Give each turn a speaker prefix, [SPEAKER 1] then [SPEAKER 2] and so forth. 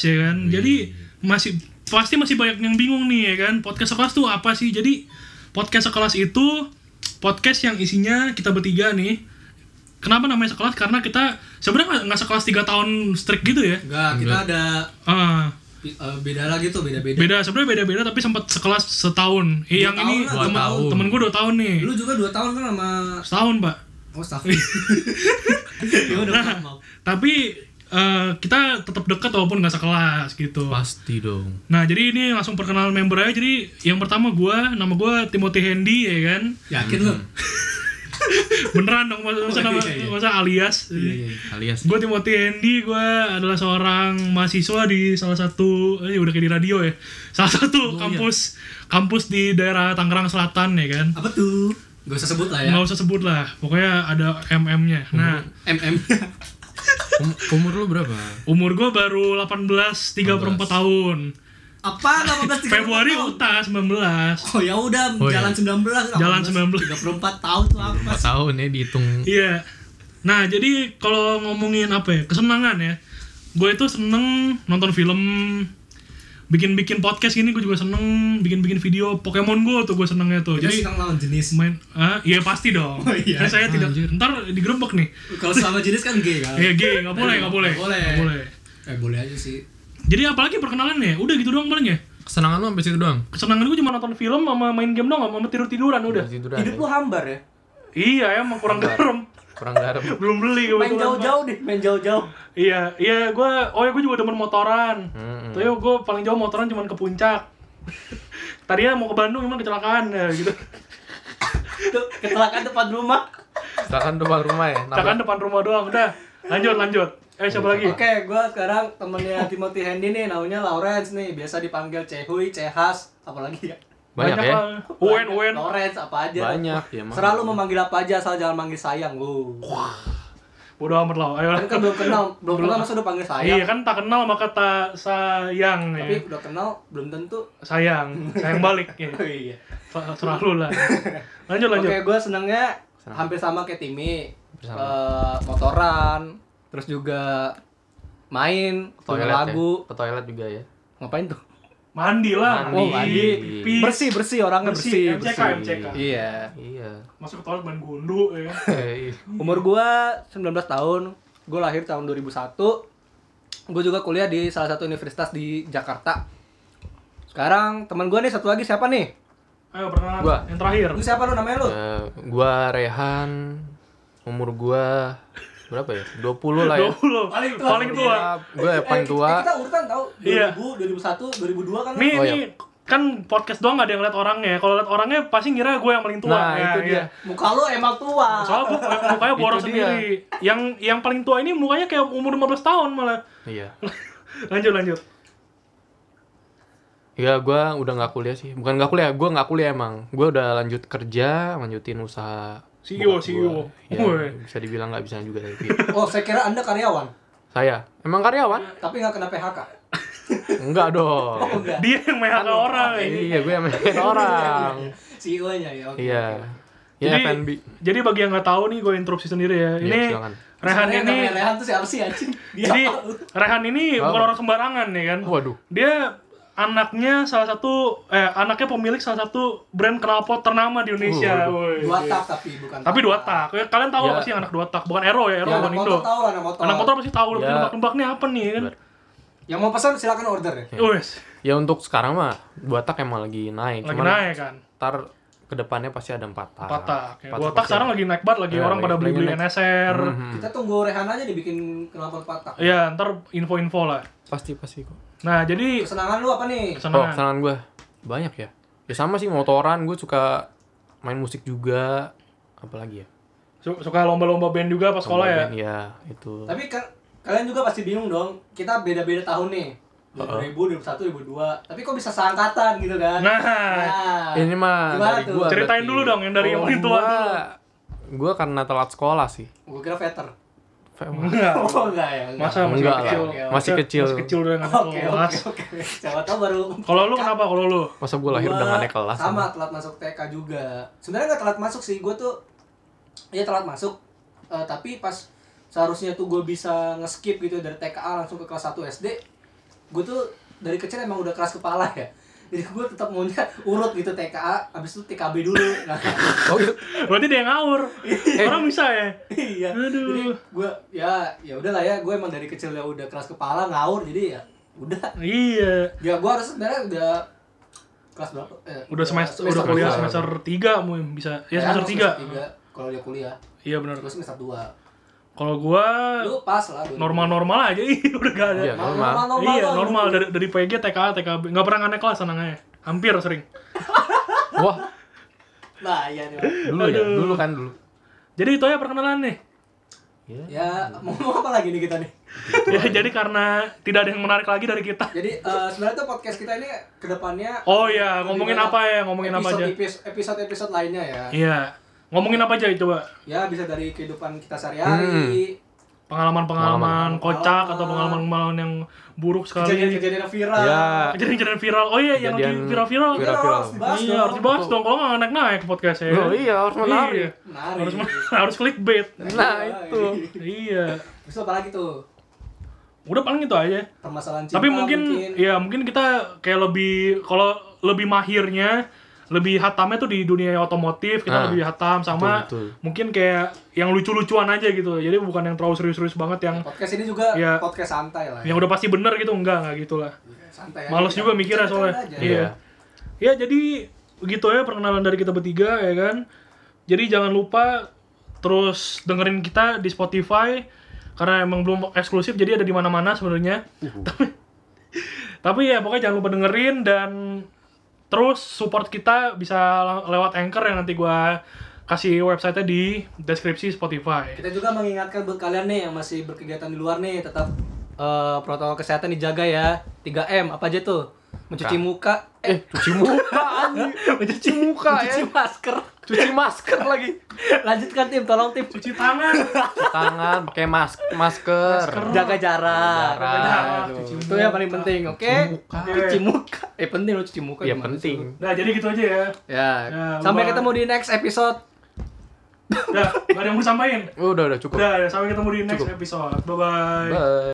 [SPEAKER 1] ya kan. Jadi masih pasti masih banyak yang bingung nih ya kan. Podcast sekelas tuh apa sih? Jadi podcast sekelas itu podcast yang isinya kita bertiga nih. Kenapa namanya sekelas? Karena kita sebenarnya nggak- nggak sekelas tiga tahun strict gitu ya.
[SPEAKER 2] Enggak, kita ada
[SPEAKER 1] Ah,
[SPEAKER 2] eh, beda lagi tuh, beda-beda.
[SPEAKER 1] beda sebenarnya beda-beda tapi sempat sekelas setahun. Eh,
[SPEAKER 2] Dua
[SPEAKER 1] yang
[SPEAKER 2] tahun lah,
[SPEAKER 1] ini
[SPEAKER 2] dua
[SPEAKER 1] temen,
[SPEAKER 3] tahun.
[SPEAKER 1] temen gue dua tahun nih.
[SPEAKER 2] Lu juga 2 tahun kan sama
[SPEAKER 1] Setahun pak.
[SPEAKER 2] Oh, staff. ya udah
[SPEAKER 1] Nah,
[SPEAKER 2] mau.
[SPEAKER 1] tapi eh, kita tetap dekat walaupun nggak sekelas gitu.
[SPEAKER 3] Pasti dong.
[SPEAKER 1] Nah, jadi ini langsung perkenalan member aja. Jadi yang pertama gua, nama gua Timothy Hendy ya kan.
[SPEAKER 2] Yakin lu?
[SPEAKER 1] Beneran dong masa, masa, nama-
[SPEAKER 2] iya, iya.
[SPEAKER 1] masa alias.
[SPEAKER 2] Iya, iya.
[SPEAKER 3] Alias
[SPEAKER 1] Gue Timothy Hendy, gue adalah seorang mahasiswa di salah satu eh, udah kayak di radio ya. Salah
[SPEAKER 2] Oh,
[SPEAKER 1] satu
[SPEAKER 2] iya.
[SPEAKER 1] kampus kampus di daerah Tangerang Selatan ya kan.
[SPEAKER 2] Apa tuh? Gak usah sebut lah ya.
[SPEAKER 1] nggak usah sebut lah, pokoknya ada MM-nya. Nah,
[SPEAKER 2] MM.
[SPEAKER 3] Um- umur lu berapa?
[SPEAKER 1] umur gue baru 18, 3 per 4 tahun.
[SPEAKER 2] Apa 18 tiga
[SPEAKER 1] Februari
[SPEAKER 2] tahun?
[SPEAKER 1] utas 19.
[SPEAKER 2] Oh ya udah
[SPEAKER 3] Oh,
[SPEAKER 2] jalan 19
[SPEAKER 1] Jalan
[SPEAKER 2] 34 tahun tuh apa?
[SPEAKER 3] 4 tahun ya dihitung.
[SPEAKER 1] Iya. Nah, jadi kalau ngomongin apa ya? Kesenangan ya. Gue itu seneng nonton film, bikin-bikin podcast gini gue juga seneng, bikin-bikin video Pokemon Go tuh gue senengnya tuh.
[SPEAKER 2] Kita
[SPEAKER 1] Jadi
[SPEAKER 2] suka lawan jenis.
[SPEAKER 1] main ah iya pasti dong.
[SPEAKER 2] Oh, iya.
[SPEAKER 1] Kan saya tidak
[SPEAKER 3] Anjir.
[SPEAKER 1] ntar digerebek nih.
[SPEAKER 2] Kalau selama jenis kan gay kan.
[SPEAKER 1] Ya G, nggak boleh, nggak boleh.
[SPEAKER 2] Nggak boleh.
[SPEAKER 1] Nggak boleh.
[SPEAKER 2] Eh boleh aja sih.
[SPEAKER 1] Jadi apalagi perkenalan ya? Udah gitu doang paling ya.
[SPEAKER 3] Kesenangan lu sampai situ doang.
[SPEAKER 1] Kesenangan gue cuma nonton film sama main game doang sama tidur-tiduran udah.
[SPEAKER 3] Tiduran.
[SPEAKER 4] Hidup lu hambar ya?
[SPEAKER 1] Iya, emang kurang garam.
[SPEAKER 3] Kurang garam.
[SPEAKER 1] Belum beli
[SPEAKER 4] Main
[SPEAKER 1] kebetulan.
[SPEAKER 4] jauh-jauh deh, main jauh-jauh.
[SPEAKER 1] Iya, iya gue, oh ya gue juga demen motoran. Tapi gue paling jauh motoran cuman ke puncak. Tadinya mau ke Bandung cuman kecelakaan ya gitu.
[SPEAKER 4] Tuh, Kecelakaan depan rumah.
[SPEAKER 3] Silakan depan rumah ya.
[SPEAKER 1] Kecelakaan depan rumah doang. Udah, lanjut lanjut. Eh siapa lagi?
[SPEAKER 4] Oke, gua sekarang temennya Timothy Hendy nih, namanya Lawrence nih. Biasa dipanggil Cehui, Cehas, apalagi ya.
[SPEAKER 3] Banyak, ya.
[SPEAKER 1] lah. Uen Uen.
[SPEAKER 4] Lawrence apa aja.
[SPEAKER 3] Banyak, ya, emang.
[SPEAKER 4] Serah lu mau manggil apa aja asal jangan manggil sayang. Wow.
[SPEAKER 1] Bodoh amat lah. Ayo lah.
[SPEAKER 4] Kan, kan belum kenal, belum kenal masa udah panggil sayang.
[SPEAKER 1] Iya kan tak kenal maka tak sayang ya.
[SPEAKER 4] Tapi udah kenal belum tentu.
[SPEAKER 1] Sayang, sayang balik ya.
[SPEAKER 4] Oh, iya.
[SPEAKER 1] Sa- Serah lu lah. Lanjut lanjut.
[SPEAKER 4] Oke, gua senengnya hampir sama kayak Timmy. Eh, motoran, terus juga main,
[SPEAKER 5] toilet
[SPEAKER 4] punya
[SPEAKER 5] ya.
[SPEAKER 4] lagu.
[SPEAKER 5] ke toilet juga ya
[SPEAKER 4] Ngapain tuh?
[SPEAKER 1] Mandi lah.
[SPEAKER 5] Mandi.
[SPEAKER 4] Oh, mandi.
[SPEAKER 1] Pipis.
[SPEAKER 4] Bersih, bersih orangnya
[SPEAKER 1] Bersih,
[SPEAKER 4] bersih.
[SPEAKER 1] MCK,
[SPEAKER 4] bersih.
[SPEAKER 1] MCK.
[SPEAKER 4] Iya.
[SPEAKER 5] iya
[SPEAKER 1] Masuk ke toilet main gundu ya.
[SPEAKER 5] Eh, iya.
[SPEAKER 4] Umur gua 19 tahun. Gua lahir tahun 2001. Gua juga kuliah di salah satu universitas di Jakarta. Sekarang teman gua nih satu lagi siapa nih?
[SPEAKER 1] Ayo perkenalan
[SPEAKER 5] Gua.
[SPEAKER 1] yang terakhir.
[SPEAKER 4] Lu siapa lu namanya lu?
[SPEAKER 5] Eh, gua Rehan umur gua berapa ya 20 lah ya
[SPEAKER 1] 20.
[SPEAKER 4] Paling tua.
[SPEAKER 1] Paling tua.
[SPEAKER 5] gua yang paling
[SPEAKER 4] Eh,
[SPEAKER 5] tua
[SPEAKER 4] kita urutan tau.
[SPEAKER 1] Iya.
[SPEAKER 4] 2000, 2001, 2002 kan. lu?
[SPEAKER 1] Nih,
[SPEAKER 5] Oh, iya.
[SPEAKER 1] nih kan podcast doang gak ada yang liat orangnya. Kalau liat orangnya pasti ngira gue yang paling tua. Ya, iya.
[SPEAKER 5] Nah, itu dia.
[SPEAKER 4] Muka lu emang tua.
[SPEAKER 1] Soalnya gue mukanya boros
[SPEAKER 5] Itu dia.
[SPEAKER 1] sendiri. Yang yang paling tua ini mukanya kayak umur 15 tahun malah.
[SPEAKER 5] iya
[SPEAKER 1] lanjut lanjut.
[SPEAKER 5] ya gua udah nggak kuliah sih bukan nggak kuliah gua nggak kuliah emang gua udah lanjut kerja lanjutin usaha
[SPEAKER 1] CEO,
[SPEAKER 5] bokap gua.
[SPEAKER 1] CEO.
[SPEAKER 5] Ya,
[SPEAKER 1] E Woi.
[SPEAKER 5] bisa dibilang nggak bisa juga tapi
[SPEAKER 4] Oh, saya kira Anda karyawan,
[SPEAKER 5] saya emang karyawan
[SPEAKER 4] tapi nggak kena PHK.
[SPEAKER 5] enggak
[SPEAKER 4] Oh,
[SPEAKER 5] dong
[SPEAKER 4] enggak.
[SPEAKER 1] Dia yang mehat orang. ya.
[SPEAKER 5] iya gue yang main orang
[SPEAKER 4] CEO-nya ya. oke, oke.
[SPEAKER 5] iya ya
[SPEAKER 1] Jadi-
[SPEAKER 5] FNB
[SPEAKER 1] Jadi bagi yang nggak tahu nih gue interupsi sendiri ya.
[SPEAKER 5] Iya,
[SPEAKER 1] Ini
[SPEAKER 5] silakan.
[SPEAKER 1] Rehan
[SPEAKER 4] Sebenarnya
[SPEAKER 1] ini
[SPEAKER 4] namanya Rehan tuh siapa sih anjing? Dia
[SPEAKER 1] jadi
[SPEAKER 4] apa lu?
[SPEAKER 1] Rehan ini
[SPEAKER 5] Apa?
[SPEAKER 1] bukan orang sembarangan ya kan.
[SPEAKER 5] waduh
[SPEAKER 1] Dia anaknya salah satu eh anaknya pemilik salah satu brand knalpot ternama di Indonesia. Woi.
[SPEAKER 4] dua tak tapi bukan
[SPEAKER 1] Tapi dua tak. Ya, Kalian tahu
[SPEAKER 5] Ya.
[SPEAKER 1] pasti yang anak dua tak, bukan Aero ya, Aero
[SPEAKER 4] ya,
[SPEAKER 1] bukan
[SPEAKER 4] anak
[SPEAKER 1] Indo.
[SPEAKER 4] motor tahu lah anak motor
[SPEAKER 1] Anak motor pasti tahu lebih
[SPEAKER 5] Ya.
[SPEAKER 1] nembak-nembak nih apa nih ya kan.
[SPEAKER 4] yang mau pesan silakan order ya
[SPEAKER 1] Wes,
[SPEAKER 5] Ya untuk sekarang mah Batak emang lagi naik.
[SPEAKER 1] lagi
[SPEAKER 5] Cuman
[SPEAKER 1] naik kan.
[SPEAKER 5] Ntar kedepannya pasti ada empat tak.
[SPEAKER 1] Patak. Ya.
[SPEAKER 5] Empat
[SPEAKER 1] Botak
[SPEAKER 5] pasti
[SPEAKER 1] sekarang
[SPEAKER 5] ada.
[SPEAKER 1] lagi naik banget lagi
[SPEAKER 5] Ya,
[SPEAKER 1] orang
[SPEAKER 5] lagi-
[SPEAKER 1] pada
[SPEAKER 5] lagi
[SPEAKER 1] beli-beli
[SPEAKER 5] naik.
[SPEAKER 1] NSR.
[SPEAKER 5] Mhm.
[SPEAKER 4] kita tunggu Rehan aja dibikin kenapa patah
[SPEAKER 1] Ya, ntar info-info lah.
[SPEAKER 5] Pasti pasti kok.
[SPEAKER 1] Nah, jadi
[SPEAKER 4] kesenangan lu apa nih
[SPEAKER 5] Oh
[SPEAKER 1] kesenangan.
[SPEAKER 5] kesenangan gue banyak ya. Ya sama sih motoran gue suka main musik juga. Apalagi ya.
[SPEAKER 1] Su- suka lomba-lomba band juga pas sekolah ya.
[SPEAKER 5] Band, Iya itu.
[SPEAKER 4] tapi ka- kalian juga pasti bingung dong kita beda-beda tahun nih 2000, 2001, 2002 tapi kok bisa seangkatan gitu kan
[SPEAKER 5] iya.
[SPEAKER 1] Nah,
[SPEAKER 4] Nah.
[SPEAKER 5] Ini mah
[SPEAKER 4] Gimana
[SPEAKER 5] dari
[SPEAKER 4] tuh?
[SPEAKER 5] gue.
[SPEAKER 1] Ceritain dulu dong yang dari yang paling tua dulu.
[SPEAKER 5] Gue karena telat sekolah sih.
[SPEAKER 4] gua kira veter
[SPEAKER 1] enggak.
[SPEAKER 4] oh enggak ya enggak.
[SPEAKER 1] Masa masih
[SPEAKER 5] Enggak lah.
[SPEAKER 1] kecil.
[SPEAKER 5] Masih
[SPEAKER 1] Masa-
[SPEAKER 5] kecil.
[SPEAKER 1] Masih kecil udah nggak
[SPEAKER 4] oke
[SPEAKER 1] kelas.
[SPEAKER 4] oke oke siapa tahu baru
[SPEAKER 1] Kalau lu kenapa kalau lu?
[SPEAKER 5] Masa gue lahir
[SPEAKER 4] Gua
[SPEAKER 5] udah gak naik kelas.
[SPEAKER 4] sama telat masuk TK juga sebenarnya nggak telat masuk sih gue tuh ya telat masuk eh, tapi pas seharusnya tuh gue bisa nge-skip gitu dari TKA langsung ke kelas 1 SD gue tuh dari kecil emang udah keras kepala ya jadi gue tetap maunya urut gitu TKA abis itu TKB dulu nah,
[SPEAKER 5] Oh gitu.
[SPEAKER 1] Berarti dia yang ngawur. Orang bisa ya.
[SPEAKER 4] iya
[SPEAKER 1] Aduh.
[SPEAKER 4] jadi gue ya ya udahlah ya gue emang dari kecil ya udah keras kepala ngawur jadi ya udah
[SPEAKER 1] Iya.
[SPEAKER 4] ya gue harus sebenarnya udah kelas berapa Eh,
[SPEAKER 1] Udah
[SPEAKER 5] Iya,
[SPEAKER 1] semester, udah
[SPEAKER 5] kuliah.
[SPEAKER 1] kuliah semester 3 mungkin bisa.
[SPEAKER 4] Kan
[SPEAKER 1] Ya semester
[SPEAKER 5] Iya,
[SPEAKER 1] 3.
[SPEAKER 4] 3 kalau dia kuliah
[SPEAKER 1] Iya benar.
[SPEAKER 4] terus semester 2
[SPEAKER 1] Kalau gua
[SPEAKER 4] lu pas lah gua.
[SPEAKER 1] normal-normal aja ih udah gak ada.
[SPEAKER 5] Iya,
[SPEAKER 4] normal
[SPEAKER 5] normal.
[SPEAKER 4] normal, normal,
[SPEAKER 1] iya,
[SPEAKER 4] normal.
[SPEAKER 1] normal dari dari PG, TKA, TKB. Enggak pernah aneh kelas anaknya. Hampir sering.
[SPEAKER 5] Wah,
[SPEAKER 4] nah iya nih Bang.
[SPEAKER 5] dulu ya,
[SPEAKER 1] Aduh.
[SPEAKER 5] dulu kan dulu.
[SPEAKER 1] Jadi itu ya perkenalan nih.
[SPEAKER 4] ya mau ngomong apa lagi nih kita nih
[SPEAKER 1] Ya, jadi karena tidak ada yang menarik lagi dari kita.
[SPEAKER 4] jadi eh, sebenarnya tuh podcast kita ini kedepannya
[SPEAKER 1] Oh iya,
[SPEAKER 4] lebih
[SPEAKER 1] ngomongin
[SPEAKER 4] banyak
[SPEAKER 1] apa ya? Ngomongin apa aja?
[SPEAKER 4] episode- episode-episode lainnya ya
[SPEAKER 1] Iya. Ngomongin apa aja coba?
[SPEAKER 4] ya bisa dari kehidupan kita sehari-hari
[SPEAKER 1] Pengalaman-pengalaman
[SPEAKER 4] Pengalaman.
[SPEAKER 1] kocak
[SPEAKER 5] Ah.
[SPEAKER 1] atau pengalaman-pengalaman yang buruk sekali.
[SPEAKER 4] kejadian-kejadian yang viral
[SPEAKER 5] Ya,
[SPEAKER 1] Kejadian-kejadian viral. Oh iya, yang lagi
[SPEAKER 5] Kejadian-
[SPEAKER 1] viral-viral.
[SPEAKER 4] Kita
[SPEAKER 5] Viral.
[SPEAKER 4] harus dibahas
[SPEAKER 1] Iya,
[SPEAKER 4] dong.
[SPEAKER 1] harus dibahas dong. Kalau nggak naik-naik podcastnya.
[SPEAKER 5] Loh, iya, harus menarik.
[SPEAKER 1] Iya.
[SPEAKER 4] menarik
[SPEAKER 1] Harus, men- harus clickbait.
[SPEAKER 5] Nah, itu.
[SPEAKER 1] iya.
[SPEAKER 4] terus apa lagi tuh
[SPEAKER 1] Udah paling itu aja.
[SPEAKER 4] permasalahan cinta
[SPEAKER 1] Tapi mungkin, ya mungkin kita kayak lebih kalau lebih mahirnya lebih hatamnya tuh di dunia otomotif kita
[SPEAKER 5] Ah.
[SPEAKER 1] lebih hatam sama
[SPEAKER 5] Betul,
[SPEAKER 1] mungkin kayak yang lucu-lucuan aja gitu jadi bukan yang terlalu serius-serius banget yang
[SPEAKER 4] podcast ini juga
[SPEAKER 1] Ya.
[SPEAKER 4] podcast santai lah ya.
[SPEAKER 1] yang udah pasti bener gitu enggak enggak gitulah
[SPEAKER 4] santai aja.
[SPEAKER 1] males juga mikirnya
[SPEAKER 4] Bercanda
[SPEAKER 1] soalnya
[SPEAKER 4] aja.
[SPEAKER 1] iya ya jadi gitu ya perkenalan dari kita bertiga ya kan jadi jangan lupa terus dengerin kita di Spotify karena emang belum eksklusif jadi ada di mana-mana sebenarnya
[SPEAKER 4] Uh-huh.
[SPEAKER 1] tapi tapi ya pokoknya jangan lupa dengerin dan terus support kita bisa le- lewat anchor yang nanti gua kasih website-nya di deskripsi Spotify.
[SPEAKER 4] Kita juga mengingatkan buat kalian nih yang masih berkegiatan di luar nih tetap eh, protokol kesehatan dijaga ya. 3M apa aja tuh? Mencuci muka, eh
[SPEAKER 5] Cuci muka, anjing.
[SPEAKER 4] mencuci
[SPEAKER 5] muka, eh.
[SPEAKER 4] mencuci masker.
[SPEAKER 5] cuci masker lagi.
[SPEAKER 4] Lanjutkan tim, tolong tim.
[SPEAKER 1] Cuci tangan,
[SPEAKER 5] Cuci tangan, pakai mask masker.
[SPEAKER 4] Jaga jarak.
[SPEAKER 5] Jaga jarak,
[SPEAKER 4] Nah,
[SPEAKER 1] cuci
[SPEAKER 4] itu yang paling penting, oke?
[SPEAKER 5] muka.
[SPEAKER 4] Cuci muka. Eh penting lo cuci muka. gimana sih
[SPEAKER 5] Ya
[SPEAKER 4] lu?
[SPEAKER 5] penting.
[SPEAKER 1] Nah, jadi gitu aja ya.
[SPEAKER 4] Ya.
[SPEAKER 1] Ya,
[SPEAKER 4] Sampai
[SPEAKER 1] lumayan.
[SPEAKER 4] ketemu di next episode.
[SPEAKER 1] Udah, gak ada yang mau disampaikan?
[SPEAKER 5] Udah, udah cukup.
[SPEAKER 1] Udah, sampai ketemu di next
[SPEAKER 5] Cukup.
[SPEAKER 1] episode. Bye-bye.
[SPEAKER 5] Bye.